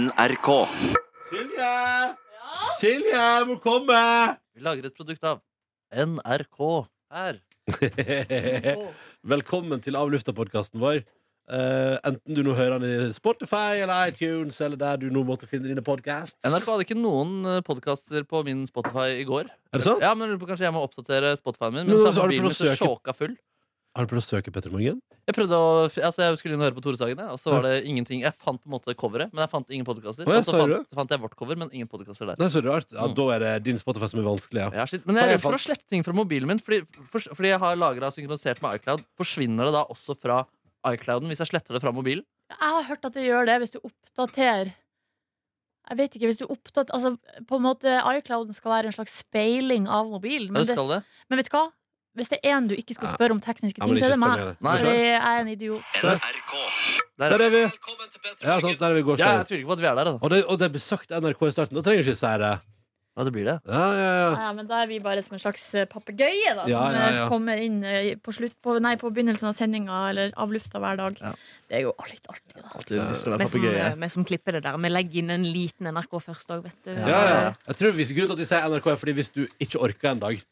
NRK. Silje! Silje, jeg må komme! Vi lager et produkt av NRK her. Eh, Velkommen til Avlufta-podkasten vår. Eh, enten du nå hører den i Spotify eller iTunes eller der du nå måtte finne dine podcasts. NRK hadde ikke noen podkaster på min Spotify i går. Er det sant? Ja, men jeg lurer på, Kanskje jeg må oppdatere Spotify-en min. Men Men så så har er du mobilen min så prøvd å søke- sjåka full. Har du prøvd å søke Petter Morgen? Jeg prøvde å, altså jeg skulle inn og høre på Tore Sagen, jeg, og så var det ingenting. Jeg fant på en måte coveret, men jeg fant ingen podkaster. Å, ja, og så sa du fant, fant jeg vårt cover, men ingen podkaster der. Nei, så rart. Ja, Mm. Da er det din Spotify som er vanskelig, ja. Jeg har slitt- men jeg Sa er jeg redd for å fant- slette ting fra mobilen min, fordi, for, fordi jeg har lagra og synkronisert med iCloud. Forsvinner det da også fra iClouden hvis jeg sletter det fra mobilen? Jeg har hørt at det gjør det hvis du oppdaterer Jeg vet ikke, hvis du oppdater Altså, på en måte, iClouden skal være en slags speiling av Ja, mobilen. Men, det skal det. det, men vet du hva? Hvis det er en du ikke skal spørre om tekniske ting, så er det meg. Nei, Fordi jeg er en idiot. NRK. Der, Der er vi. Ja, Ja, sant, der er vi i går. ja, jeg tviler ikke på at vi er der. altså. Da. Og det, og det ble sagt NRK i starten. Da trenger du ikke si det. Ja, det blir det. Ja, ja, ja. Ja, men da er vi bare som en slags eh, papegøye da, som Ja, ja, ja. eh, kommer inn eh, på, slutt, på, nei, på begynnelsen av sendinga eller av lufta hver dag. Ja. Det er jo litt artig, da. Alltid lyst til å være Vi sånn, som, eh, papegøye. eh, vi som klipper det der. Vi legger inn en liten NRK først òg, vet du. Ja, Ja, ja. Jeg tror hvis Grunnen til at de sier NRK, er fordi hvis du ikke orker en dag.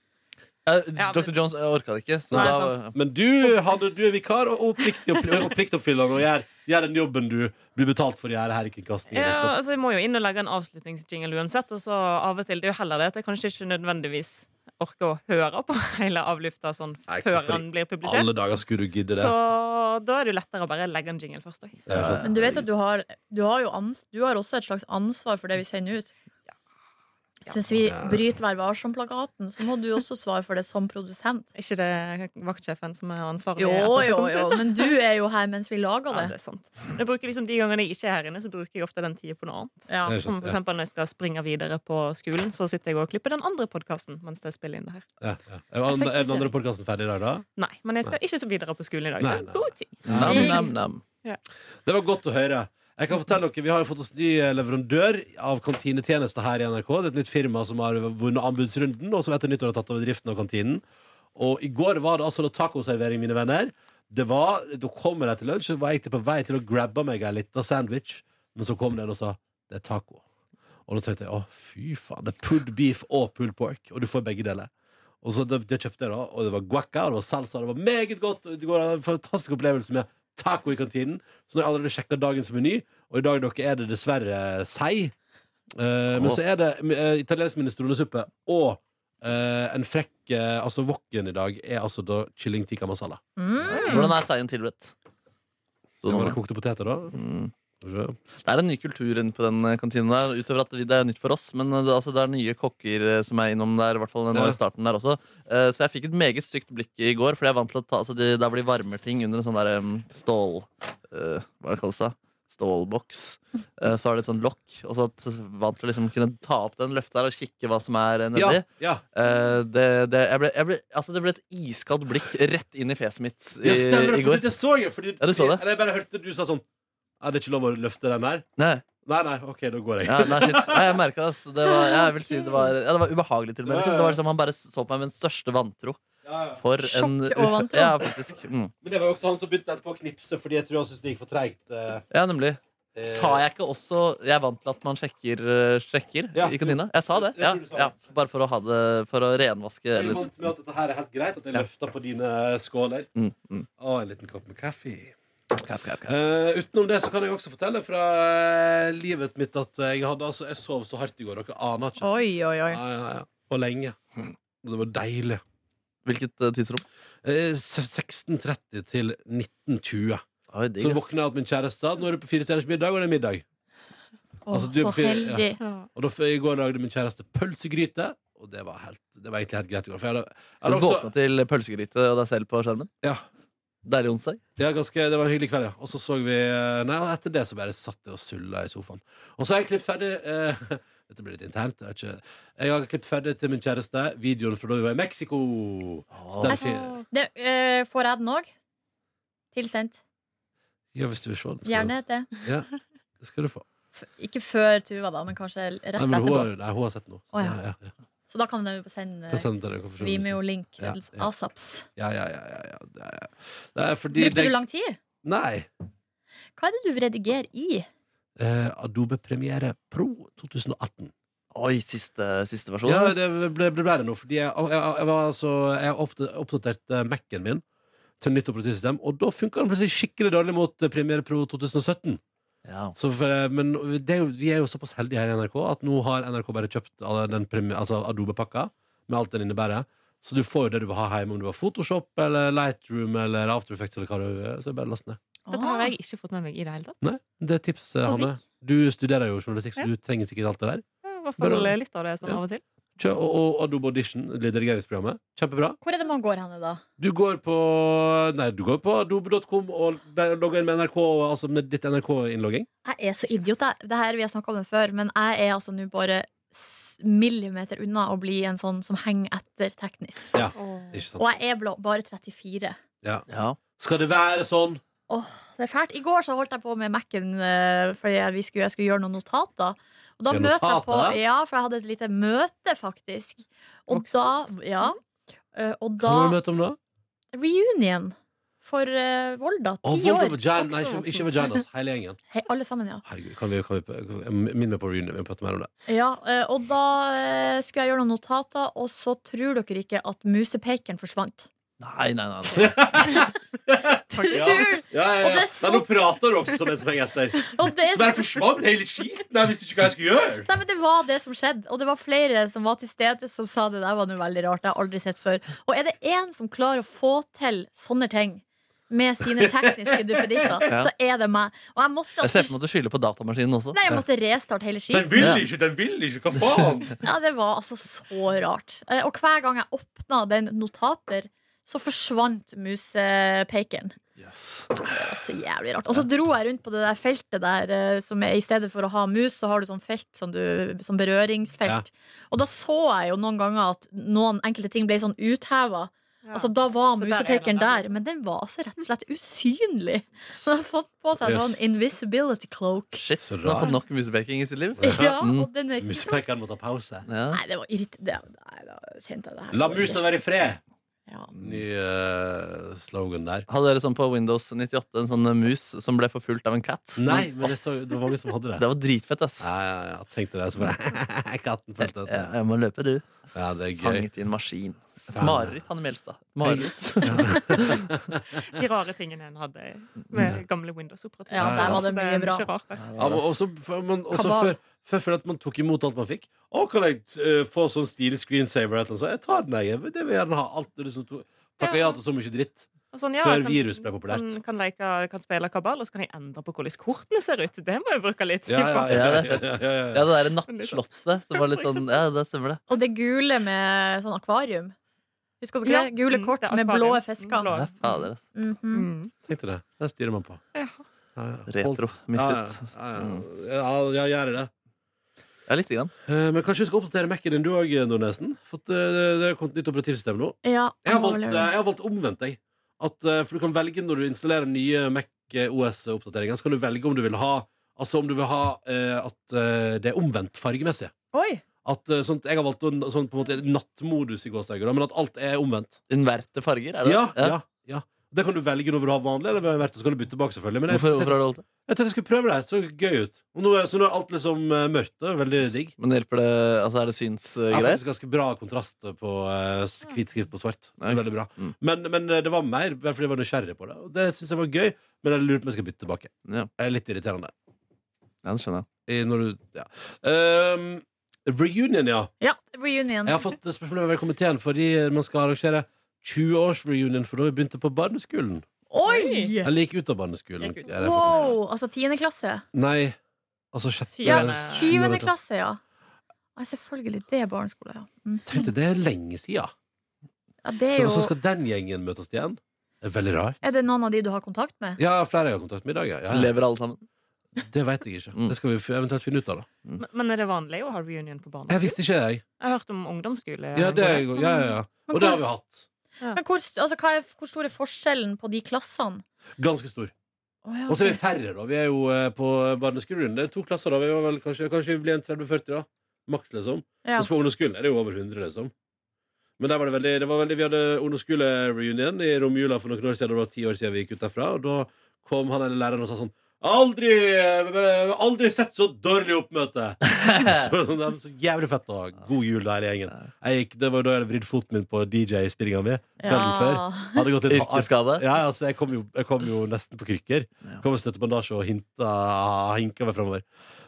Ja, Ja, Dr. Jones jeg orka det ikke. Så Nei, da, sant. Men du, Hanne, du er vikar og, og, pliktig, og, og pliktoppfyllende og gjør, gjør den jobben du blir betalt for å gjøre her i Kringkastingen. Ja, ikke sant? altså Jeg må jo inn og legge en avslutningsjingle uansett. Og så av og til, Det er jo heller det at jeg kanskje ikke nødvendigvis orker å høre på hele avlufta sånn Nei, før fordi den blir publisert. Alle dager skulle du gidde det. Så da er det jo lettere å bare legge en jingle først òg. Ja, sant. Men du vet at du har, du har jo ans, du har også et slags ansvar for det vi sender ut. Syns vi bryter Vær varsom-plakaten, så må du også svare for det som produsent. Er ikke det vaktsjefen som har ansvaret? Jo, for at det jo, kommer jo, ut? men du er jo her mens vi lager Ja, det. det er sant. Jeg bruker liksom De gangene jeg ikke er her inne, så bruker jeg ofte den tida på noe annet. Ja. Det er sant, Som for ja. eksempel når jeg skal springe videre på skolen, så sitter jeg og klipper den andre podkasten mens jeg spiller inn det her. Ja, ja. Er den- er den andre podkasten ferdig i dag, da? Nei, men jeg skal ikke så videre på skolen i dag. Nei, Så nei. god tid. nam, nam, nam. Det var godt å høre. Jeg kan fortelle dere, Vi har jo fått oss ny eh, leverandør av kantinetjenester her i NRK. Det er et nytt firma som har vunnet anbudsrunden, og som etter nyttår har tatt over driften av kantinen. Og i går var det altså da tacoservering, mine venner. Det var, Da kommer jeg til lunsj, så var jeg egentlig på vei til å grabbe meg en liten sandwich, men så kom den og sa det er taco. Og da tenkte jeg å, fy faen, det er pulled beef og pulled pork, og du får begge deler. Og så det, det kjøpte jeg da, og det var guacca, og det var salsa, og det var meget godt. og Det går en fantastisk opplevelse med taco i kantinen. Så nå har jeg allerede sjekka dagens meny, og i dag dere er det dessverre sei. Eh, Men Åh. så er det eh, italiensk minestronesuppe og eh, en frekk eh, Altså wokken i dag er altså da kylling tikka masala. Mm. Hvordan er seien tilberedt? Det var Det det kokte poteter, da. Mm. Skal vi se. er en ny kultur inne på den eh, kantinen der, utover at det er nytt for oss. Men eh, det, altså, det er nye kokker eh, som er innom der, i hvert fall nå Ja. i starten der også. Eh, Så jeg fikk et meget stygt blikk i går, Fordi jeg er vant til å ta altså, de, Der blir varmer ting under en sånn der em, stål... eh, hva er det kalles da? Stålboks. Eh, Så har det et sånn lokk, og så så vant til å liksom kunne ta opp den løfta der og kikke hva som er eh, nedi. Ja, ja. Eh, det, det, jeg ble, jeg ble, altså det ble et iskaldt blikk rett inn i fjeset mitt i, ja, stemmer det, i går. for det så jeg. Fordi, Ja, du så det. Eller jeg bare hørte du sa sånn Er det er ikke lov å løfte den der? Nei, Nei, nei, OK, da går jeg. ja, nei, shit. nei, jeg merket det. ass. Det var, jeg vil si det var, ja, det var ubehagelig til og med. Liksom. Det var liksom, han bare så på meg med den største vantro. Ja, ja. For Sjokk en, og vantro. Ja, faktisk. Mm. Men det var jo også han som begynte etterpå å knipse fordi jeg tror han syntes det gikk for treigt. eh, Ja, nemlig. eh, Sa jeg ikke også Jeg er vant til at man sjekker, eh, sjekker Ja. i kantina? Jeg sa det. Jeg Ja, tror du sa ja. det. Bare for å, ha det, for å renvaske Jeg er eller vant med at dette her er helt greit, at jeg Ja. løfter på dine eh, skåler. mm, mm. Og en liten kopp med kaffe. Kaff, kaff, kaff. Eh, utenom det så kan jeg også fortelle fra eh, livet mitt at jeg hadde altså Jeg sov så hardt i går, dere aner ikke. Oi, oi, oi. Ja, ja, ja. Og lenge. Mm. Og det var deilig. Hvilket eh, tidsrom? Eh, s- 16.30 til 19.20. Oi, digg, Så ass. våkna jeg opp min kjæreste. Nå er det på fire stjerners middag, og det er middag. Å, Altså, du er så på ferie, ja. heldig. Og da, f- I går lagde min kjæreste pølsegryte, og det var, helt, det var egentlig helt greit. i går, For jeg hadde, jeg Du hadde også, våkna til pølsegryte og deg selv på skjermen? Ja. Deilig onsdag. Ja, ganske, det var en hyggelig kveld, ja. Og så så vi eh, Nei, og etter det så bare satt jeg og sulla i sofaen. Og så har jeg klippet ferdig eh, Dette blir litt internt. Jeg, vet ikke, jeg har klippet ferdig til min kjæreste videoen fra da vi var i Mexico. Så den Jeg fin- Det, eh, får jeg den òg? Tilsendt. Ja, hvis du vil se den. skal Gjerne det. du- Ja, det skal du få. F ikke før Tuva, da, men kanskje rett Nei, men hun etterpå. har, nei, hun har sett den nå. Så, Å, ja. ja, ja. Så da kan de jo Jeg sende Kan sende den til deg. hvorfor ikke? Vimeo-link. Ja, til ja. ASAPs. Ja, ja, ja. ja, ja. Det er, det er fordi Brukte det, du lang tid? Nei. Hva er det du redigerer i? eh, Adobe Premiere Pro 2018. Oi, siste, siste versjon? Ja, det ble, ble, ble det nå, fordi jeg, jeg, jeg, var altså, jeg oppda- oppdaterte Mac-en min til nytt operativsystem, og da funka den plutselig skikkelig dårlig mot eh, Premiere Pro 2017. Ja. Så, for- men det er jo, vi er jo såpass heldige her i NRK at nå har NRK bare kjøpt alle den premi- altså Adobe-pakka med alt den innebærer. Så du får jo det du vil ha hjemme, om du har Photoshop eller Lightroom eller After Effects. Eller hva du, så er det bare å laste ned. Dette har jeg ikke fått med meg i det hele tatt. Nei, det er tips, Så Hanne. Du studerer jo journalistikk, så du trenger sikkert alt det der. Ja, I hvert Bra. fall litt av det sånn Ja. av og til. Kjør, og, og Adobe Audition, redigeringsprogrammet. Kjempebra. Hvor er det man går henne, da? Du går på Nei, du går på adobe.com og der logger inn med NRK, altså med ditt NRK-innlogging. Jeg er så idiot. Jeg. Det her, vi har snakka om det før, men jeg er altså nå bare s- millimeter unna å bli en sånn som henger etter teknisk. Ikke sant? Og jeg er blå, bare 34. ja. Skal det være sånn? Det er fælt. I går så holdt jeg på med Mac-en eh, fordi jeg- vi skulle, jeg skulle gjøre noen notater. Og da Gjøre møtte jeg på notater? Ja, for jeg hadde et lite møte, faktisk. Og da Voksent. Ja. Eh, Og Hva må du da møte om da? Reunion for eh, Volda. Å, Ti Volda år. Vagina, nei, ikke, Voksen, voksen. ikke Vaginas, hele gjengen. Hei, alle sammen, ja. Herregud, kan vi, kan vi, jeg minner meg på reunion, vi prater mer om det. Ja, eh, og da eh, skulle jeg gjøre noen notater, og så tror dere ikke at musepekeren forsvant. Nei, nei, nei. nei. Ja, ja, Og det er så- Nei, nå prater du også som en som henger etter. Og det, Så bare forsvant hele skiten! Jeg visste ikke hva jeg skulle gjøre! nei, men det var det som skjedde, og det var flere som var til stede som sa det der var noe veldig rart. Det har jeg aldri sett før. Og er det én som klarer å få til sånne ting med sine tekniske duppeditter, Ja. så er det meg. Og jeg måtte, Jeg ser for altså, meg at du skylder på datamaskinen også. nei, jeg måtte restarte hele skiten. vil Ja. ikke, den vil ikke, hva faen? Ja, det var altså så rart. Eh, Og hver gang jeg åpna den notater, så forsvant musepekeren. Yes. Det var så jævlig rart. Og så dro jeg rundt på det der feltet der eh, som er, I stedet for å ha mus, så har du sånn felt som du, sånn berøringsfelt. Og da så jeg jo noen ganger at noen enkelte ting ble sånn utheva. Ja. Altså, da var Så der er sånn. musepekeren den der, der, men den var altså rett og slett usynlig. Den har fått på seg sånn Yes. invisibility cloak. Shit, Så den har rart. fått nok musepeking i sitt liv. Ja, Mm. og den er ikke sånn Musepekkeren må ta pause. Ja. Nei, det var irriterende. Nei, da kjente jeg det her. La musa være i fred! Ja. Ny eh, slogan der. Hadde dere sånn på Windows 98 en sånn eh, mus som ble forfulgt av en cat? Nei, men det, så, det var mange som hadde det. Det var dritfett, ass. Ja, ja, ja, tenkte det, så bare Katten fulgte Jeg, etter. jeg må løpe, du. Ja, det er gøy. Fanget i en maskin. Et Faen. mareritt, Hanne Mjelstad. Et Mareritt. De rare tingene en hadde med gamle Windows-operativ. Ja, der var Så det mye bra. ikke rart, det. Ja, men også, for, men også Kabal. før, før følte jeg at man tok imot alt man fikk. Å, kan jeg eh, få sånn stilig screensaver? Eller noe sånt? Jeg tar den, jeg. Det vil jeg gjerne ha. Alt det liksom to- Takker ja Ja. til så mye dritt. Og sånn, ja, Før jeg kan- sånn, virus ble populært. Kan, kan, leke, kan spille kabal, og så kan jeg endre på hvordan kortene ser ut. Det må jeg bruke litt tid Ja, på. ja, ja, Ja, det ja, ja, ja, Ja, ja. det derre nattslottet som var litt sånn Ja, det stemmer, det. Og det gule med sånn akvarium. Husker dere Ja, det? Gule mm, kort det er med akvarium. blå fisker. Blå. Ja, fader, ass. Mhm. Mm. Tenkte det. Den styrer man på. Ja. Ja, ja. Retro. Ja, Misset. ja, ja, ja, ja, gjør det. Ja, lite grann. Eh, Men kanskje du skal oppdatere Mac-en din du òg, Nordnesen? For at, eh, det er kommet nytt operativsystem nå. Ja, Jeg har må valgt, vel eh, gjøre det. jeg har valgt omvendt, jeg. At, eh, for du kan velge når du installerer nye Mac OS-oppdateringer, så kan du velge om du vil ha Altså om du vil ha eh, at eh, det er omvendt fargemessig. Oi! At, eh, sånt, jeg har valgt en- sånn på en måte nattmodus i gårsdager, da, men at alt er omvendt. Inverte farger, er det Ja, det? ja, ja. Det kan du velge når du har vanlig, eller vil ha vært, så kan du bytte tilbake, selvfølgelig. Men jeg, Hvorfor, hvorfor jeg, har du holdt det? tenkte jeg skulle prøve det. Så gøy ut. Og nå, er- så nå er alt liksom eh, mørkt. Det er veldig digg. Men hjelper det Altså, er det Det er synsgreier? faktisk ganske bra kontrast på eh, s- hvit skrift på svart. Det er veldig bra. Mm. Men, men eh, det var mer bare fordi jeg var nysgjerrig på det. Og det syns jeg var gøy, men jeg lurer på om jeg skal bytte tilbake. Ja. Det er litt irriterende. Ja, det skjønner jeg. I, når du, ja. Ehm, reunion, ja. Ja, reunion. Jeg har fått spørsmål over komiteen fordi man skal arrangere 20-års-reunion, for da vi begynte på barneskolen. Oi! Eller gikk ut av barneskolen. Gikk ut. Ja, det er faktisk- Wow! Altså tiende klasse. Nei, altså sjette Ja, sjuende Syvende klasse, ja. Nei, selvfølgelig. Det er barneskole, ja. Mm. Tenkte det er lenge siden. ja det er, Og så jo, skal den gjengen møtes igjen. Det er veldig rart. er det noen av de du har kontakt med? Ja, flere jeg har kontakt med i dag. Ja. Ja, ja. Lever alle sammen? Det veit jeg ikke. Mm. Det skal vi f- eventuelt finne ut av. da Men- Men er det vanlig å ha reunion på Jeg barneskolen? visste ikke, jeg. Jeg har hørt om ungdomsskole. Ja, det er, jo- ja, ja, ja. Og det har vi hatt. Men hvor, st- altså, hva er, hvor stor er forskjellen på de klassene? Ganske stor. Å, ja, Og så er vi ok. færre, da. Vi er jo eh, på barneskolen. Det er to klasser, da. Vi var vel kanskje, kanskje vi blir en 30-40, da. Maks, liksom. Ja. Mens på ungdomsskolen er det jo over 100, liksom. Men der var det veldig, det var veldig Vi hadde ungdomsskolereunion i romjula for noen år siden. Det var ti år siden vi gikk ut derfra. Og da kom han ene læreren og sa sånn Aldri, eh, aldri sett så dårlig oppmøte! Så det var så jævlig fett å ha god jul der i gjengen. Jeg gikk, det var da jeg hadde vridd foten min på DJ-spillinga mi. Kvelden før. Hadde gått litt hardt. Yrkesskade. Ja, altså, jeg, kom jo, jeg kom jo nesten på krykker. Kom med støttebandasje og hinta, hinka meg framover.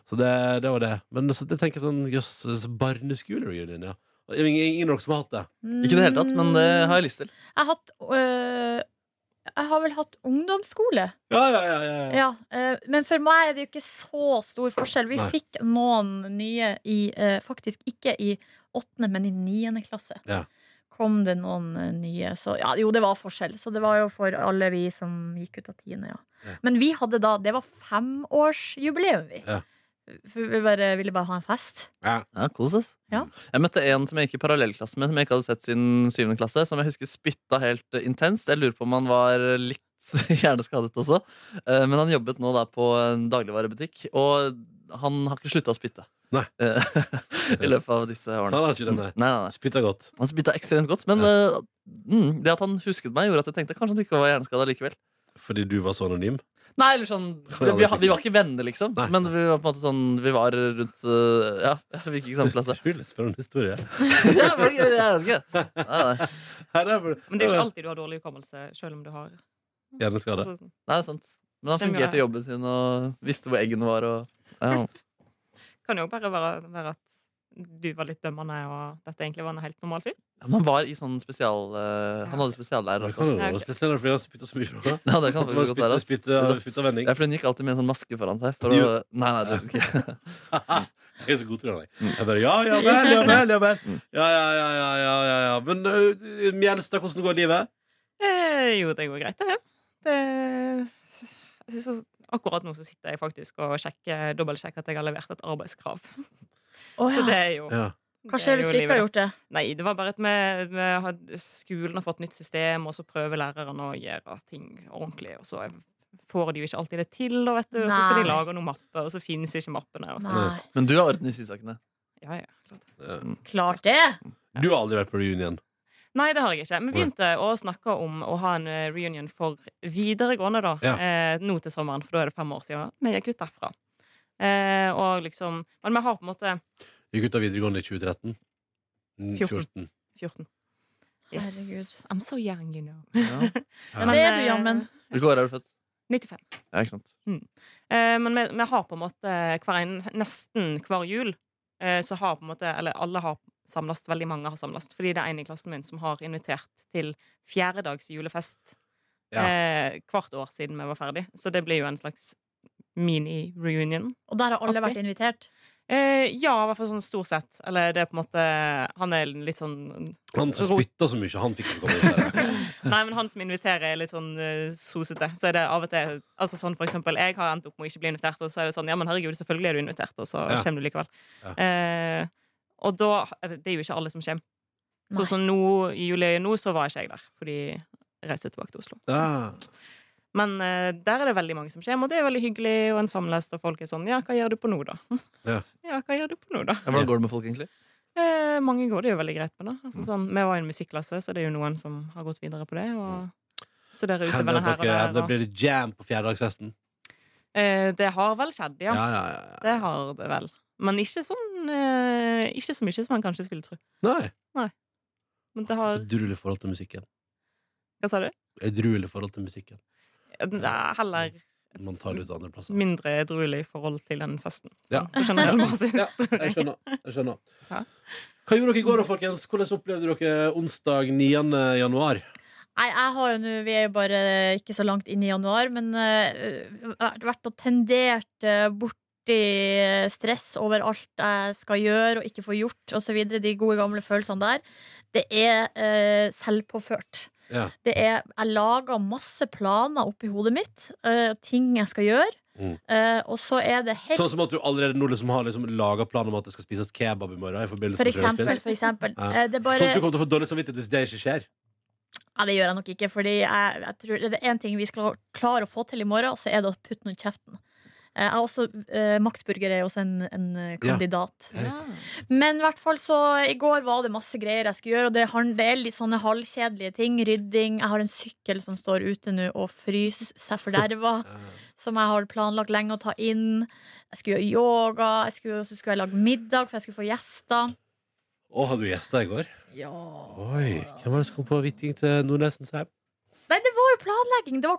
Så det, det var det. Men så, det tenker jeg sånn Jøss, så barneskolereunion, ja. Og Ingen, ingen av dere som har hatt det? Mm. Ikke i det hele tatt, men det har jeg lyst til. Jeg har hatt øh, Jeg har vel hatt ungdomsskole. Ja, ja, ja, ja, ja. Ja, øh, men for meg er det jo ikke så stor forskjell. Vi Nei. fikk noen nye i øh, Faktisk ikke i åttende, men i niende klasse. Ja. Kom det noen øh, nye så, ja, Jo, det var forskjell. Så det var jo for alle vi som gikk ut av tiende, ja. Ja. Men vi hadde da Det var femårsjubileum, vi. Ja. For vi bare, ville bare ha en fest. Ja, kos ass. Ja. Jeg møtte en som jeg gikk i parallellklasse med, som jeg ikke hadde sett siden syvende klasse, som jeg husker spytta helt eh, intenst. Jeg lurer på om han var litt hjerneskadet også. Eh, Men han jobbet nå da på en dagligvarebutikk, og han har ikke slutta å spytte. Nei. Eh, I løpet av disse årene. Han har ikke den, nei. Mm, Nei, nei, nei. Spytta godt. Han spytta ekstremt godt, men eh, mm, det at han husket meg, gjorde at jeg tenkte kanskje han ikke var hjerneskada likevel. Fordi du var så anonym? Nei, eller sånn Kan Vi, jeg vi, aldri si. vi var ikke venner, liksom, Nei. men vi var på en måte sånn Vi var rundt eh, Ja, vi gikk ikke i samme klasse. Altså. Utrolig spennende historie. ja, men jeg vet ikke. Nei, nei. Her er det, Men det er jo ikke alltid du har dårlig hukommelse, selv om du har Hjerneskade. altså, Nei, det er sant. Men han Skjønner fungerte i jeg. jobben sin og visste hvor eggene var. Og, ja. Kan jo bare være, være at du var litt dømmende, og dette egentlig var en helt normal fyr. Ja, men han var i sånn spesial... eh, han hadde spesiallærer Det også. kan jo være Ok. spesielt fordi han spytta så mye. da. Ja, det kan At det var faktisk godt være. spytte- ass. spytte- eh, Spytta vending. Ja, for hun gikk alltid med en sånn maske foran seg. For å, Jo. nei, nei, det, ikke. Jeg er så god til det. Mm. Jeg bare, ja, ja vel, ja vel, ja vel. Mm. Ja, ja, ja, ja, ja, ja, ja. Men ø, Mjelstad, hvordan går livet? Eh, jo, det går greit, det. det jeg synes at akkurat nå så sitter jeg faktisk og sjekker, dobbeltsjekker at jeg har levert et arbeidskrav. Oh, Så det er jo Ja. Hva skjer hvis det er jo du ikke livet. har gjort det? Nei, det var bare at vi, vi hadde, skolen har fått nytt system, og så prøver læreren å gjøre ting ordentlig. Og så får de jo ikke alltid det til, og, vet du, og så skal de Nei. lage noen mapper, og så finnes ikke mappene. Og så. Nei. Men du har orden i sysakene. Ja, ja, klart. Ja. Klart det! Du har aldri vært på reunion. Nei, det har jeg ikke. Men Nei. vi begynte å snakke om å ha en eh, reunion for videregående da, Ja. eh, nå til sommeren, for da er det fem år siden vi gikk ut derfra. Eh, og liksom, men vi har på en måte Gikk ut av videregående i 2013. Mm, 14. 14. 14. Herregud. I'm so young, you know. Ja. Ja. Det er eh, du, jammen. Hvilke år er du født? 95. Ja, ikke sant? Eh, men vi, vi har på en måte hver en, nesten hver jul eh, så har på en måte, eller alle har samles, veldig mange har samles, fordi det er en i klassen min som har invitert til fjerdedags julefest Ja. eh, hvert år siden vi var ferdig. Så det blir jo en slags mini-reunion. Og der har alle Aktig. vært invitert. Eh, ja, i hvert fall sånn stort sett. Eller det er på en måte Han er litt sånn Han som spytta så mye, han fikk ikke komme ut der. Nei, men han som inviterer er litt sånn eh, sosete. Så er det av og til Altså sånn for eksempel, jeg har endt opp med å ikke bli invitert, og så er det sånn Ja, men herregud, selvfølgelig er du invitert, og så Ja. kommer du likevel. Ja. Eh, og da er det, det er jo ikke alle som kommer. Nei. Så, så nå, i juli nå, så var ikke jeg der, fordi jeg reiste tilbake til Oslo. Ja. Men eh, der er det veldig mange som kommer, og det er veldig hyggelig, og en samles, og folk er sånn Ja, hva gjør du på nå, da? Ja. ja hva gjør du på nå, da? Ja, hvordan går det med folk, egentlig? Eh, mange går det jo veldig greit med, da. Altså, Mm. sånn, vi var i en musikklasse, så det er jo noen som har gått videre på det. Og studerer Hender Mm. utøvende det her at og dere, der. det Og, blir det jam på fjerdedagsfesten? eh, det har vel skjedd, ja. Ja, ja, ja. Det har det vel. Men ikke sånn eh, Ikke så mye som man kanskje skulle tro. Nei. Men det har Edruelig forhold til musikken. Hva sa du? Edruelig forhold til musikken. Det er heller Man tar det ut andre plasser. mindre edruelig i forhold til den festen. Ja. Sånn, på generell basis. Ja, Jeg skjønner. Jeg skjønner. Ja. Hva gjorde dere i går, da, folkens? Hvordan opplevde dere onsdag 9. januar? Nei, jeg har jo nå, Vi er jo bare ikke så langt inn i januar, men eh, jeg har vært og tendert eh, borti stress over alt jeg skal gjøre og ikke få gjort, osv. De gode, gamle følelsene der. Det er eh, selvpåført. Ja. Det er, jeg lager masse planer oppi hodet mitt, eh, ting jeg skal gjøre, Mm. eh, og så er det helt Sånn som at du allerede nå liksom har liksom laga plan om at det skal spises kebab i morgen? I forbindelse For med eksempel. fredagspils? For eksempel. Ja. Eh, Det er Sånn at du bare, kommer til å få dårlig samvittighet hvis det ikke skjer? ja, det gjør jeg nok ikke, Fordi jeg, jeg tror det er én ting vi skal klare å få til i morgen, og så er det å putte noe i kjeften. Eh, Jeg er også, eh, maktburger er jo også en, en eh, Ja. kandidat. Ja. Men i hvert fall så i går var det masse greier jeg skulle gjøre, og det, han- det er litt sånne halvkjedelige ting. Rydding. Jeg har en sykkel som står ute nå og fryser seg forderva, Eh, som jeg har planlagt lenge å ta inn. Jeg skulle gjøre yoga, jeg skulle, så skulle jeg lage middag, for jeg skulle få gjester. Å, hadde du gjester i går? Ja. Oi, Hvem var det som kom på hvitting til Nordnesens heim? Nei, det var jo planlegging! Det var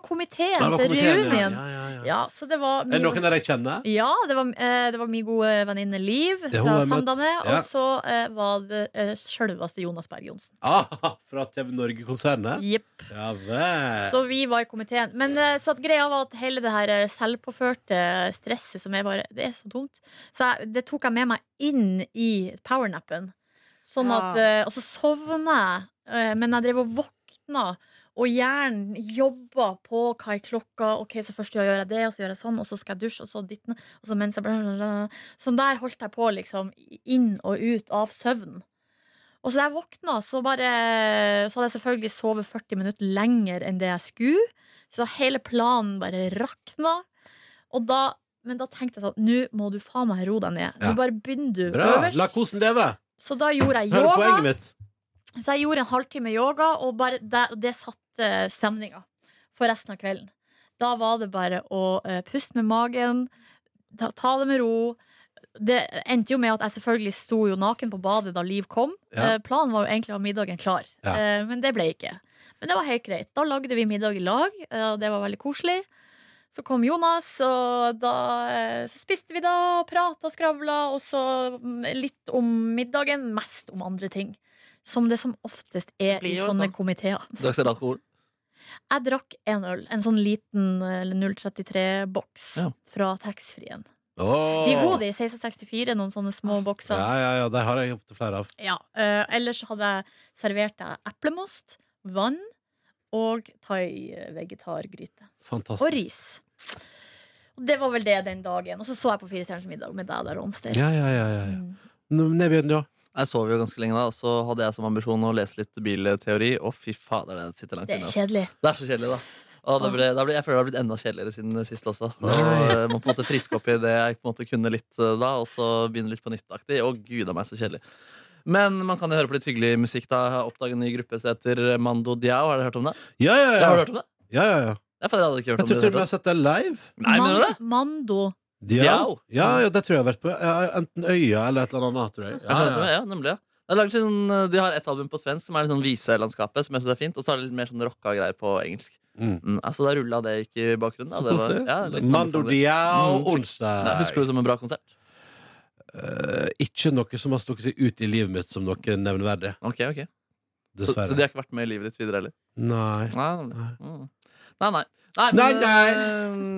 Nei, det komiteen var til komiteen, ja. reunien. Ja, ja, ja. Ja, så det var Er det noen der jeg kjenner? Ja, det var, eh, det var min gode venninne Liv Det er hun fra jeg har møtt. Sandane. Ja. Og så eh, var det eh, sjølveste Jonas Berg Johnsen. Ah, fra TV Norge-konsernet? Jepp. Ja vel. Så vi var i komiteen. Men eh, så at greia var at hele det her eh, selvpåførte stresset som er bare Det er så dumt. Så jeg, det tok jeg med meg inn i powernappen. Sånn Ja. at eh, Og så sovna jeg, eh, men jeg drev og våkna. Og hjernen jobba på hva er klokka Ok, så først gjør jeg det, og så gjør jeg sånn, og så skal jeg dusje, og så ditten, og så mens jeg Sånn der holdt jeg på, liksom, inn og ut av søvn. Og så da jeg våkna, så bare Så hadde jeg selvfølgelig sovet 40 minutter lenger enn det jeg skulle. Så hele planen bare rakna. Og da Men da tenkte jeg sånn Nå må du faen meg roe deg ned. Ja. Nå bare begynner du Bra. La øverst. kosen leve. Så da gjorde jeg Hører yoga. poenget mitt. Så jeg gjorde en halvtime yoga, og bare det, det satte stemninga for resten av kvelden. Da var det bare å eh, puste med magen, ta, ta det med ro. Det endte jo med at jeg selvfølgelig sto jo naken på badet da Liv kom. Ja. Eh, planen var jo egentlig å ha middagen klar, Ja. Eh, men det ble ikke. Men det var helt greit. Da lagde vi middag i lag, eh, og det var veldig koselig. Så kom Jonas, og da eh, så spiste vi da, prata og skravla, og så mm, litt om middagen, mest om andre ting. Som det som oftest er Det blir i jo sånne sånn. komiteer. Drakk dere alkohol? Jeg drakk en øl, en sånn liten eh, 033-boks Ja. fra taxfree-en. Oh. De er gode, de 1664, noen sånne små bokser. Ja, ja, ja, det har jeg opptil flere av. Ja, eh, ellers hadde jeg servert deg eplemost, vann og thai-vegetargryte. Og Fantastisk. ris. Og det var vel det den dagen. Og så så jeg på Fire stjerners middag med deg der, Ronstein. Ja, ja, ja, ja, ja. Mm. Nå, Nebjørn, ja. Jeg sov jo ganske lenge da, og så hadde jeg som ambisjon å lese litt bilteori, og fy fader, det sitter langt Det inne. er ass. kjedelig. Det er så kjedelig, da. Og det ble, det ble, jeg føler det har blitt enda kjedeligere siden sist også. Og Nei. jeg må på en måte friske opp i det jeg på en måte kunne litt eh, da, og så begynne litt på nytt-aktig. Å, gud a meg, så kjedelig. Men man kan jo høre på litt hyggelig musikk. da Jeg har oppdaget en ny gruppe som heter Mando Diao. Har dere hørt om det? Ja, ja, Har du ja. hørt om det? ja, ja, ja. Jeg, jeg hadde ikke Jeg hørt om tror det. til og med jeg har sett deg live. Nei, mener du det? Man- Mando. Diao? Diao? Ja, ja, det tror jeg jeg har vært på. Ja, Enten Øya eller et eller annet. Tror jeg. Ja, det Ja, stemmer, ja. ja, nemlig, ja. Det er laget sånn, De har ett album på svensk som er litt sånn viselandskapet, som jeg synes er fint. Og så er det litt mer sånn rocka greier på engelsk. Mm. Mm, altså Da rulla det ikke i bakgrunnen. Da. Så Det var, koselig. ja, litt Mando anbefaling. Diao Mm. Nei, Husker onsdag. du det som en bra konsert? Eh, Ikke noe som har stukket seg ut i livet mitt som noe nevneverdig. Ok, ok Så, så de Dessverre. har ikke vært med i livet ditt videre heller? Nei. Nei, nemlig. Mm. nei. nei. Nei, Nei, men, nei.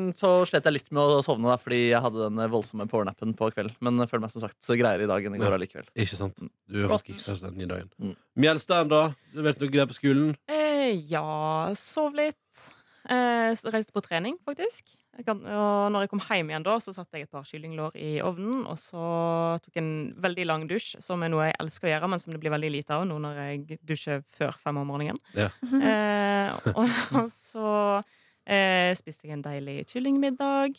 eh, Så slet jeg litt med å sovne, da fordi jeg hadde den eh, voldsomme powernappen på kvelden. Men jeg føler meg som sagt så greiere i dag enn i går allikevel. Ikke sant. Du er Godt. faktisk ikke kjæreste den nye dagen. Mm. Mjelstein, da? Du vet noe greier på skolen? Eh, ja, sov litt. Eh, så reiste på trening, faktisk. Jeg kan, og når jeg kom hjem igjen da, så satte jeg et par kyllinglår i ovnen. Og så tok jeg en veldig lang dusj, som er noe jeg elsker å gjøre, men som det blir veldig lite av nå når jeg dusjer før fem om morgenen. Ja. Mhm. Eh, og, og så eh, spiste jeg en deilig kyllingmiddag.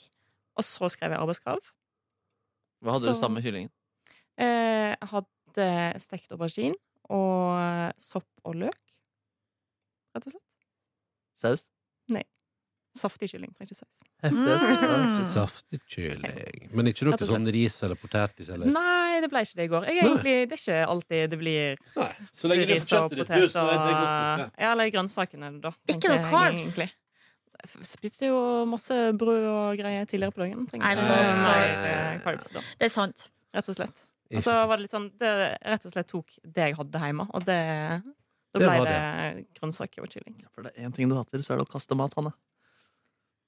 Og så skrev jeg arbeidskrav. Hva hadde Så- du sammen med kyllingen? Eh, jeg hadde stekt aubergine og sopp og løk, rett og slett. Saus? Saftig kylling, trenger ikke saus. Mm. Saftig kylling. Men ikke noe Rett og slett. sånn ris eller potetis eller Nei, det ble ikke det i går. Jeg er Nei. egentlig, det er ikke alltid det blir Nei. Så lenge det er ris på og kjøttet ditt, potet du, og så er det godt. nok, det. Ja, eller grønnsakene, da. Ikke tenker noe jeg carbs? egentlig. Jeg Spiste jo masse brød og greier tidligere på dagen. Trenger Nei, ikke det noe var- mer eh, carbs, da. Det er sant. Rett og slett. Ikke Og så sant. var det litt sånn Det rett og slett tok det jeg hadde hjemme, og det Da Det ble var det, grønnsaker og kylling. For det er én ting du hater, så er det å kaste mat, Hanne.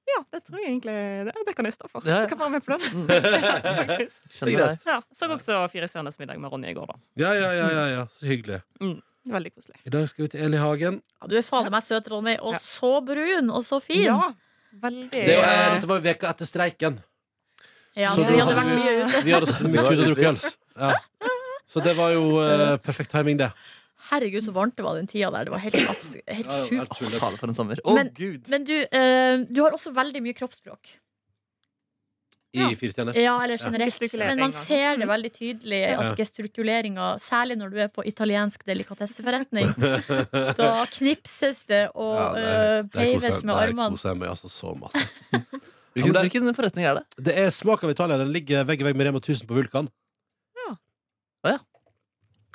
Ja, det tror jeg egentlig Det, det kan jeg stå for. Ja, ja. Jeg kan være med på den. Mm. Faktisk. Det er Skjønner deg. Ja, så også Fire stjerners middag med Ronny i går, da. Ja, ja, ja, ja, ja. Så hyggelig. Veldig koselig. I dag skal vi til Eli Hagen. Ja, du er fader meg søt, Ronny. Og Ja. så brun, og så fin. Ja, veldig Det var, eh, dette var veka etter streiken. Ja, Så så da vi hadde hadde vært du- mye ute. Vi hadde satt mye ut og drukket øl. Ja. Så det var jo eh, perfekt timing, det. Herregud, så varmt det var den tida der. Det var helt, abs- helt Ja, ja, sjukt. helt tullete. Fader, for en sommer. Å, Men- gud! Men du, eh, du har også veldig mye kroppsspråk. i Ja. Fire stjerner. Ja, eller generelt. Gestikulering, Men man ja. ser det veldig tydelig Ja. at gestikuleringa, særlig når du er på italiensk delikatesseforretning, eh, da knipses det Ja, og øh, der- der koser peives jeg- med der armene. koser jeg meg altså så masse. Ja, men Hvilken, det- hvilken forretning er det? Det er smak av Italia. Den ligger vegg i vegg med Rema 1000 på Vulkan.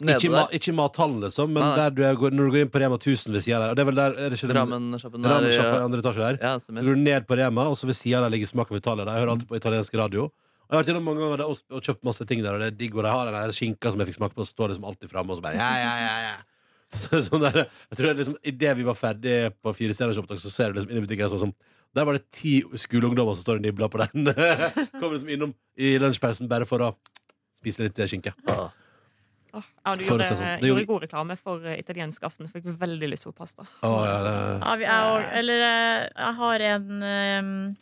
Nede Ikke, i ma, der? ikke i mathallen, liksom, men Nei, nei. der du er, går- når du går inn på Rema 1000 ved siden der. Og det er vel der, er det ikke den- Rammensjappen der? Ramen Shop i ja. andre etasje der. Ja, Så stemmer. går du ned på Rema, og så ved siden der ligger Smak av Italia. Der. Jeg hører alltid på italiensk radio. Og jeg har vært innom mange ganger der og, sp- og kjøpt masse ting der, og det er digg. Og de har den der skinka som jeg fikk smake på, og står liksom alltid framme, og så bare ja, ja, ja, ja. Så, det er sånn der, jeg tror det er liksom Idet vi var ferdig på Fire stjerners opptak, så ser du liksom inn i butikken sånn som Der var det ti skoleungdommer som står og nibler på den. Kommer liksom innom i lunsjpausen bare for å spise litt eh, skinke. Åh, ja, du For å gjorde, si det sånn. du Det gjorde gjorde- god reklame for eh, italiensk aften. Fikk veldig lyst på pasta. Å, ja, det- Ja, vi- jeg, og- eller øh, jeg har en øhm,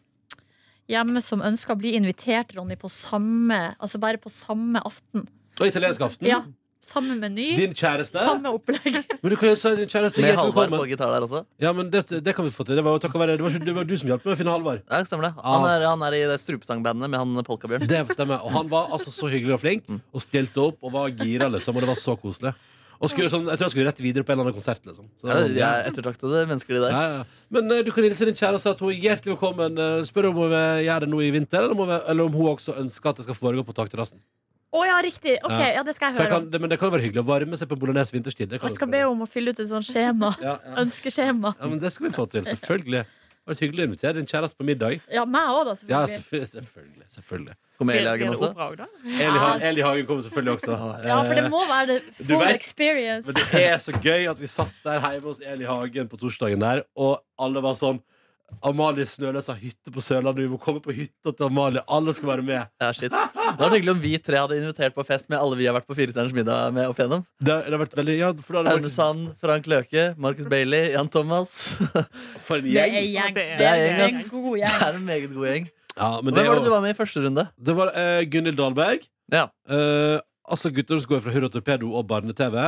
hjemme som ønsker å bli invitert, Ronny, på samme Altså bare på samme aften. Og italiensk aften. Ja, samme meny, Mm. Din kjæreste. samme opplegg. Men du kan jo si din kjæreste Med hjertelig Halvard velkommen. på gitar der også? Ja, men det, det kan vi få til. Det var jo takket være Det var, ikke, det var du som hjalp meg å finne Halvard. Ja, stemmer det. Han Ah. er, han er i det strupesangbandet med han Polkabjørn. Det stemmer. Og han var altså så hyggelig og flink, Mm. og stilte opp og var gira, liksom. Og det var så koselig. Og skulle, sånn, jeg tror jeg skulle rett videre på en eller annen konsert, liksom. Så det Ja, var sånn, de er ettertraktede mennesker, de der. Ja, ja. Men eh, du kan hilse din kjæreste at hun er hjertelig velkommen. Eh, spør om hun vil gjøre det nå i vinter, eller om hun, vil, eller om hun også ønsker at det skal foregå på takterrassen. Å ja, riktig! Ok, Ja. ja, det skal jeg For jeg høre om. kan- det- Men det kan jo være hyggelig å varme seg på bolognese vinterstid. Det kan Jeg jo skal be være- om å fylle ut et sånt skjema. ja, ja. Ønskeskjema. ja, men det skal vi få til. Selvfølgelig. Det var hyggelig å invitere din kjæreste på middag. Ja, meg òg, da, Ja, selvfølgelig. selvfølgelig. selvfølgelig, selvfølgelig. Kommer Blir, Eliagen blir det også? opera òg, da? Eli, har, Eli Hagen kommer selvfølgelig også. Ja, for det må være det Du full vet- experience. Men det er så gøy at vi satt der hjemme hos Eli Hagen på torsdagen der, og alle var sånn Amalie Snøløs har hytte på Sørlandet, vi må komme på hytta til Amalie. Alle skal være med. Ja, shit. Det hadde vært hyggelig om vi tre hadde invitert på fest med alle vi har vært på Firestjerners middag med opp igjennom. Det, har- det har vært veldig Ja, for da har Aune det Sand, Frank Løke, Markus Bailey, Jan Thomas. vært for en Det er gjeng. gjeng. Det er Det er gjeng, en ass. god Det gjeng. er en meget god gjeng. Ja, men det, Hvem var det du var? var med i første runde? Det var eh, Gunhild Dahlberg. Ja. eh, altså gutter som går fra Hurra Torpedo og Barne-TV.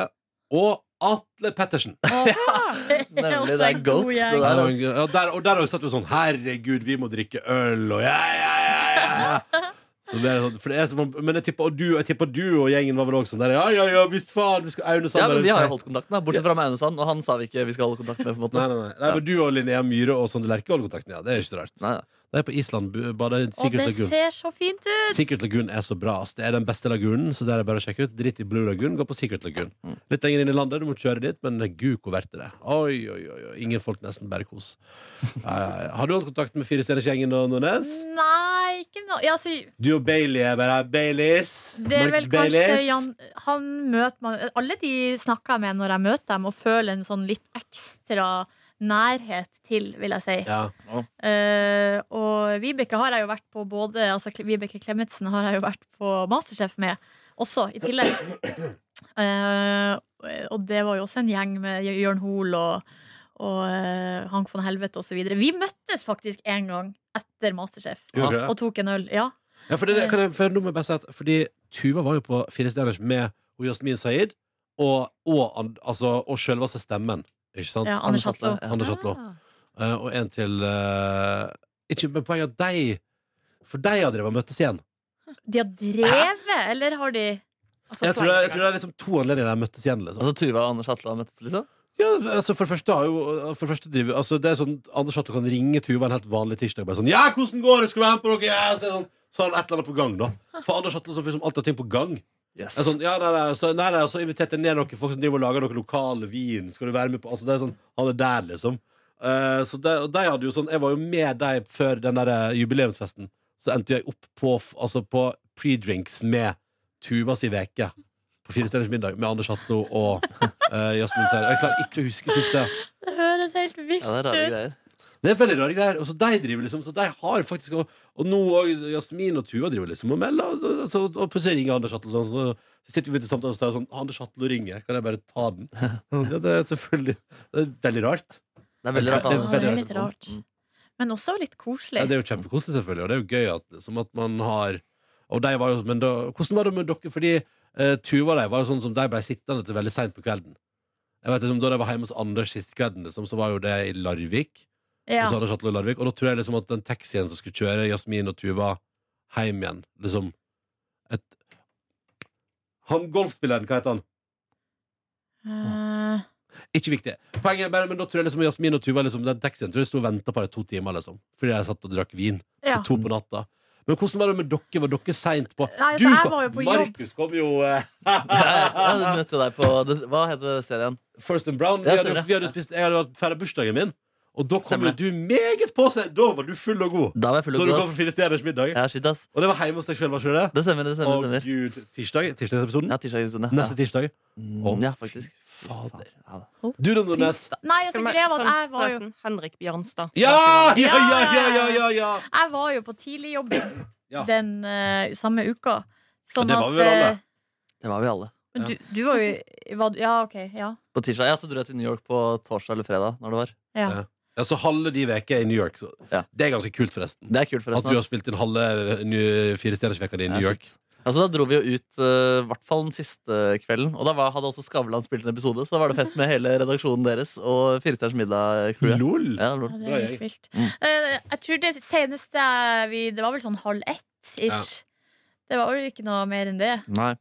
Og Atle Pettersen. Det er Nemlig også det er en god Goats. gjeng. Ja, Det der, og- altså. ja, der, og der har vi satt jo sånn Herregud, vi må drikke øl Og ja, ja, ja, ja, ja. Så det er sånn, for det er sånn, men jeg tipper, og du, jeg tipper du og gjengen var vel også sånn der Ja, ja, ja, visst faen vi skal, Aune ja, Sandberg, men vi Vi har skal- jo holdt kontakten, da bortsett fra med Aune Sand. Og han sa vi ikke vi skal holde kontakt med. på en måte Nei, nei, nei, nei men du og Linnea Myhre og Sondre Lerche holder kontakten Ja, det er ikke så rart Nei, nei. Det er på Island, bu- badet Og Secret det Lagoon ser så fint ut! Secret Lagoon er så bra ass. Det er den beste lagunen, så der er det bare å sjekke ut Dritt i Blue Lagoon, gå på Secret Lagoon Mm. Litt lenger inn i landet, du må kjøre dit Men gud, hvor verdt det er. Oi, oi, oi, oi, ingen folk nesten bare kos ja, ja, ja. Har du holdt kontakt med Fire Stjerners gjengen og Nornes? Nei, ikke noe ja, altså, Du og Bailey er bare Baileys. Det er vel Marcus kanskje Baileys. Jan, Han møter man Alle de snakker jeg med når jeg møter dem, og føler en sånn litt ekstra nærhet til, vil jeg si. Ja. Eh, og Vibeke har jeg jo vært på både altså, Kle- Vibeke Klemetsen har jeg jo vært på Masterchef med også, i tillegg. Eh, og det var jo også en gjeng med Jø- Jørn Hoel og, og eh, Hank von Helvete osv. Vi møttes faktisk en gang etter Masterchef Gjorde dere det? og tok en øl. Ja. ja, for det, det kan jeg, for nå må jeg bare si at Fordi Tuva var jo på Fire stjerners med og Jasmin Saeed og, og, and- altså, og selveste stemmen. Ikke sant? ja Anders Hatlo. Ja. Anders Hatlo. Ah. Eh, og en til eh, Ikke med poenget at de For de har drevet og møttes igjen. De har drevet, eller har de Altså, Jeg tror, det, jeg tror det er liksom to anledninger de har møttes igjen. Liksom. Altså Tuva og Anders Hatla har møttes, liksom? Ja, altså for det første har jo for det første driver, altså Det er sånn Anders Hatto kan ringe Tuva en helt vanlig tirsdag og bare sånn 'Ja, hvordan går det? Skal vi være med på noe?' Ja, så, er det sånn, så har han et eller annet på gang, da. For Anders Hatto som liksom alltid har ting på gang. Yes. Er sånn, ja, nei, nei, så, nei, nei, så inviterte jeg ned noen folk som driver og lager noe lokal vin. Skal du være med på altså, det er sånn, Han er der, liksom. Eh, så de, og de hadde jo sånn Jeg var jo med dem før den der eh, jubileumsfesten. Så endte jeg opp på, f- altså, på pre-drinks med Tuva si veke på Fire stjerners middag med Anders Hatto og eh, Jasmin Seir. Jeg klarer ikke å huske siste. Det høres helt vilt Ja, det er rare ut. greier. Det er veldig rare greier. Og så de driver liksom Så de har faktisk Og, og nå òg Jasmin og Tuva driver liksom og melder. Og, så- så- og plutselig ringer Anders Hatlo sånn. Så sitter vi til samtale og så er det sånn Anders Hatlo ringer. Kan jeg bare ta den? Ja, det er selvfølgelig Det er veldig rart. Det er veldig rart. Det er Ja, Anders. det veldig er litt rart. Mm. Men også litt koselig. Ja, det er jo kjempekoselig, selvfølgelig. Og det er jo gøy at, liksom, at man har Og de var jo Men da, hvordan var det med dere? Fordi eh, Tuva og de var jo sånn som de ble sittende til veldig seint på kvelden. Jeg vet liksom, Da de var hjemme hos Anders sist kvelden, liksom, så var jo det i Larvik. Ja. sånn. Og så hadde Kjatle og Larvik Og da tror jeg liksom at den taxien som skulle kjøre Jasmin og Tuva hjem igjen. Liksom et Han golfspilleren, hva heter han? Eh, Ikke viktig. Poenget er bare, men da tror jeg liksom Jasmin og Tuva liksom, Den taxien tror jeg sto og venta på det i to timer, liksom. Fordi jeg satt og drakk vin ja. til to på natta. Men hvordan var det med dere? Var dere seint på? Nei, altså, Du jeg kom- var jo på jobb. Markus kom jo eh, Jeg møtte deg på det, Hva heter serien? First and Brown. Vi Ja, hadde, stemmer. vi hadde spist, jeg hadde vært ferdig bursdagen min, og da kom Stemmer. jo du meget på seg. Da var du full og god. Da var jeg full Da og du god, kom på ass. Fire stjerners middag. Ja, shit, ass. Og det var hjemme hos deg sjøl, var ikke det? Det stemmer, det Å, stemmer. det stemmer. gud. Tirsdag? Tirsdagsepisoden? Ja, tirsdagsepisoden. Ja. Neste tirsdag? Mm, ja, faktisk. Fader. Ja, da. Du, da, Nordnes. Nei, altså, greia var at jeg var jo Forresten, Henrik Bjørnstad. Ja! Ja, ja, ja, ja, ja, ja. Jeg var jo på tidligjobbing Ja. den eh, samme uka. Men det var vi vel alle. eh, Det var vi alle. men du, du var jo var, du- Ja, OK. Ja. På tirsdag, ja, Så dro jeg til New York på torsdag eller fredag. når Det var ja. Ja. Ja, så halve de veker i New York. Så. Ja. Det er ganske kult, forresten. Det er kult, At forresten. du har ass. spilt inn halve eh, Ny- Firestjernersveka di i New Ja, York. shit. Altså, da dro vi jo ut eh, i hvert fall den siste kvelden. Og da var, hadde også Skavlan spilt en episode, så da var det fest med hele redaksjonen deres og Firestjerners middag-crewet. Lol! Ja, lol. Ja, det Bra er gjeng. helt vilt. Mm. Eh, jeg tror det seneste vi Det var vel sånn halv ett ish. Det var vel ikke noe mer enn det. Nei.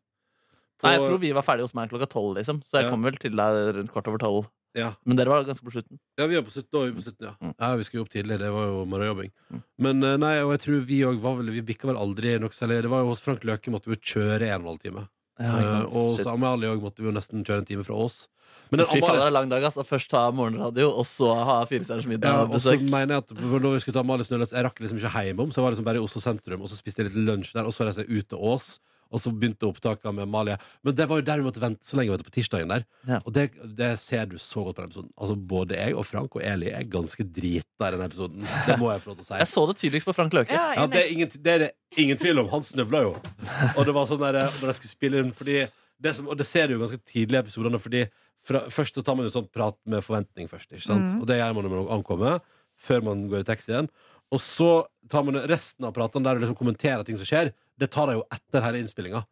På- Nei, jeg tror vi var ferdige hos meg klokka tolv, liksom. Så jeg Ja. kom vel til deg rundt kvart over tolv. Ja. Men dere var ganske på slutten. Ja, vi var på slutten, da var vi på slutten, ja. Mm. ja. Vi skulle jo opp tidlig, det var jo morgenjobbing. Mm. Men eh, nei, og jeg tror vi òg var vel Vi bikka vel aldri noe særlig. Det var jo hos Frank Løke måtte vi jo kjøre en og en halv time. Eh, og Shit. hos Amalie òg måtte vi jo nesten kjøre en time fra Ås. Men den Fy faen, det Amalie er lang dag, ass. Og først ta morgenradio, og så ha Firestjerners middag. ja, og og så besøk. mener jeg at når vi skulle ta Amalie Snøløs, jeg rakk liksom ikke hjemom, så jeg var liksom bare i Oslo sentrum, og så spiste jeg litt lunsj der, og så reiste jeg ut til Ås, og så begynte opptakene med Amalie. Men det var jo der vi måtte vente så lenge, vet du, på tirsdagen der. Ja. Og det, det ser du så godt på den episoden. Altså, både jeg og Frank og Eli er ganske drita i den episoden. Det må jeg få lov til å si. Jeg så det tydeligst på Frank Løke. Ja, Ja, det enig. er ingen, det er det ingen tvil om. Han snøvla jo. Og det var sånn der, eh, når jeg skulle spille inn Fordi det som, Og det ser du jo ganske tidlig i episodene, Fordi fra, først så tar man jo sånn prat med forventning først. Ikke sant? Mm. Mhm. Og det gjør man når man ankommer, før man går i taxien. Og så tar man resten av pratene der du liksom kommenterer ting som skjer, det tar deg jo etter hele innspillinga.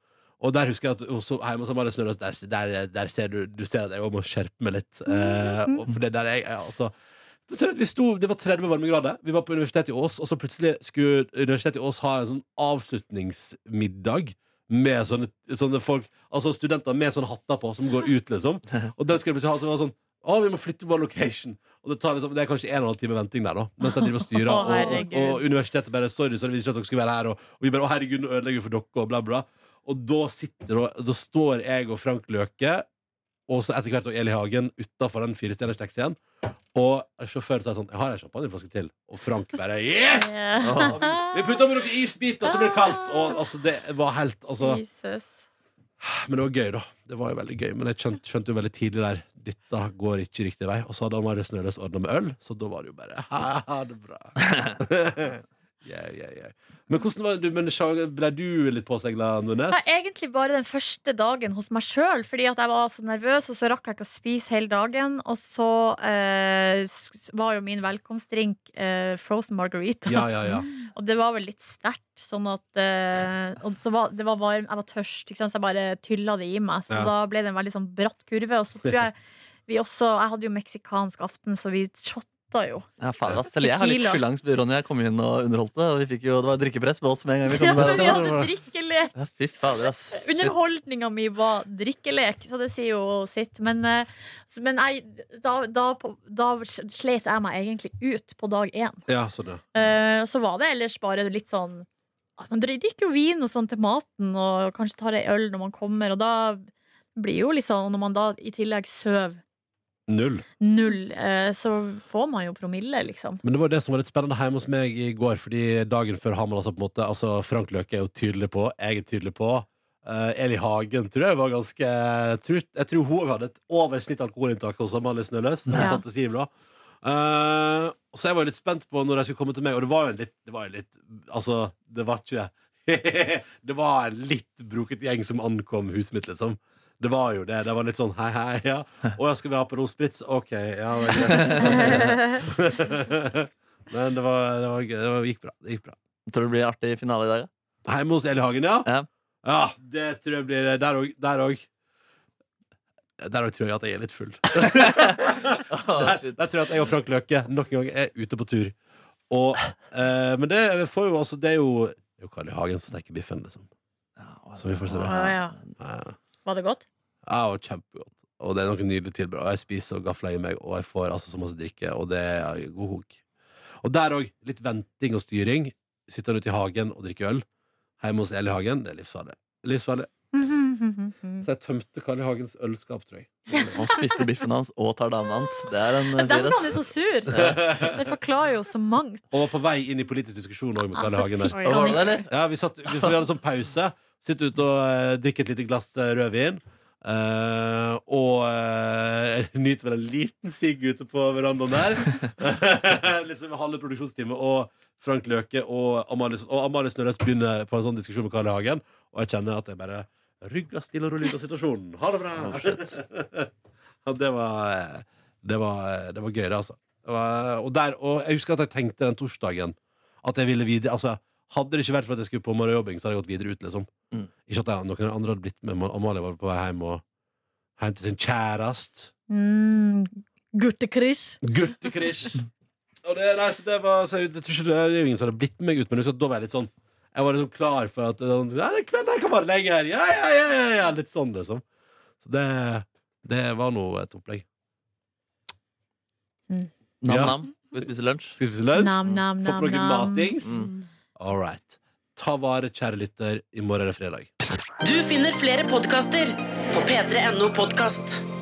Og der husker jeg at hos hjemme hos Amalie Snøløs, der, der, der ser du, du ser at jeg også må skjerpe meg litt. Eh, Mm. og for det der jeg, jeg altså så ser du at vi sto, Det var 30 varmegrader. Vi var på Universitetet i Ås, og så plutselig skulle Universitetet i Ås ha en sånn avslutningsmiddag med sånne, sånne folk Altså studenter med sånne hatter på, som går ut, liksom. Og den skal de plutselig ha, så var det sånn å, vi må flytte vår location. Og det, tar liksom, det er kanskje en og en halv time venting der, da. Mens jeg driver og styrer. Å, og, herregud. og universitetet bare Sorry, så vi ikke at dere skulle være her. Og, og vi bare Å, herregud, nå ødelegger vi for dere, og bla, bla. Og da sitter og, Da står jeg og Frank Løke, og så etter hvert og Eli Hagen, utafor den firestjerners taxien. Og sjåføren sier sånn Jeg har en champagneflaske til. Og Frank bare Yes! Åh. Vi putter oppi noen isbiter, så blir det kaldt. Og altså, det var helt altså, Jesus. Men det var gøy, da. Det var jo veldig gøy Men jeg skjønte, skjønte jo veldig tidlig der dette går ikke riktig vei. Og så hadde Amalie Snøløs ordna med øl, så da var det jo bare ha det bra. yeah, yeah, yeah. Men hvordan var du, men Sjaga, ble du litt påsegla, Det Nordnes? var egentlig bare den første dagen hos meg sjøl, fordi at jeg var så nervøs, og så rakk jeg ikke å spise hele dagen. Og så eh, s- var jo min velkomstdrink eh, frozen margaritas. Ja, ja, ja. Og det var vel litt sterkt, sånn at eh, Og så var, det var varm, jeg var tørst, ikke sant? så jeg bare tylla det i meg. Så Ja. da ble det en veldig sånn bratt kurve. Og så tror jeg vi også Jeg hadde jo meksikansk aften, så vi shotta jo. Ja, faen, ass. Selv jeg har litt Tequila. fyllangst, Ronny. Jeg kom inn og underholdte, og vi fikk jo, det var drikkepress på oss med en gang vi Ja, kom men vi der. hadde drikkelek. Ja, fy fader, ass. Shit. Underholdninga mi var drikkelek, så det sier jo sitt. Men, eh, så- men jeg, da, da, på- da slet jeg meg egentlig ut på dag én. ja sånn, ja. Eh, og så var det ellers bare litt sånn at Man drikker jo vin og sånn til maten, og kanskje tar ei øl når man kommer, og da blir jo liksom Når man da i tillegg sover Null. null, eh, så får man jo promille, liksom. Men det var det som var litt spennende hjemme hos meg i går, fordi dagen før har man altså på en måte Altså, Frank Løke er jo tydelig på, jeg er tydelig på. Eh, Eli Hagen tror jeg var ganske Jeg tror, jeg tror hun hadde et oversnitt alkoholinntak hos Amalie Snøløs. hos Ja. tante Siv da. Eh, så jeg var jo litt spent på når de skulle komme til meg, og det var jo en litt, det var jo litt Altså, det var ikke Det var en litt broket gjeng som ankom huset mitt, liksom. Det var jo det. Det var litt sånn hei, hei, ja. Å ja, skal vi ha Aperol Spritz? OK, ja, det er greit. Men det var, det var gøy. Det var, gikk bra. Det gikk bra. Tror du det blir artig finale i dag? da? Hjemme hos Eli Hagen, ja? Ja. Ja, det tror jeg blir Der òg. Der òg. Der òg tror jeg at jeg er litt full. Åh, Der, shit. der tror jeg at jeg og Frank Løke nok en gang er ute på tur. Og, eh, men det får jo altså Det er jo det Det er jo Carl I. Hagen som steker biffen, liksom. Ja, Så vi får se hva- Ja, ja. Ja, ja. Var det godt? Ja, det var kjempegodt. Og det er noe nydelig tilbud. Og jeg spiser og gafler i meg, og jeg får altså så masse drikke, og det er god hok. Og der òg, litt venting og styring. Sitter han ute i hagen og drikker øl. Hjemme hos Eli Hagen. Det er livsfarlig. livsfarlig. Så jeg tømte Karl I. Hagens ølskap, tror jeg. Og spiste biffen hans og tar dama hans. Det er en eh, Derfor han er virus. så sur. Det forklarer jo så mangt. Og var på vei inn i politisk diskusjon òg med Karl I. Altså, Hagen. der. fikk Oi. han Var det det, eller? ikke. Ja, vi, satt, vi, vi hadde sånn pause. Sitte ute og eh, drikke et lite glass eh, rødvin. eh, og eh, nyte vel en liten sigg ute på verandaen der. liksom med halve produksjonstime. Og Frank Løke og Amalie, og Amalie Snørres begynner på en sånn diskusjon med Karl I. Hagen. Og jeg kjenner at jeg bare rygger stille og rolig ut av situasjonen. Ha det bra! Oh, shit. Ja, det var eh, Det var, det var gøy, det, altså. Det var, og, der, og jeg husker at jeg tenkte den torsdagen at jeg ville videre Altså, hadde det ikke vært for at jeg skulle på morgenjobbing, så hadde jeg gått videre ut, liksom. Mm. Ikke at jeg, noen andre hadde blitt med. men Amalie var på vei hjem og hjem til sin kjæreste. Mm, Guttekryss. Guttekrisj. og det, nei, så det var så jeg, jeg tror ikke det er jo ingen som hadde blitt med meg ut, men jeg husker at da var jeg litt sånn Jeg var liksom klar for at sånn, Ja, det er kveld, jeg kan bare legge her. Ja, ja, ja, ja, ja. Litt sånn, liksom. Så det, det var nå et opplegg. Ja. Nam-nam. Skal vi spise lunsj? Skal vi spise lunsj? Nam, nam, Få nam, på noe nam. matings? Mm. All right. Ta vare, kjære lytter. I morgen er det fredag. Du finner flere podkaster på p3.no podkast.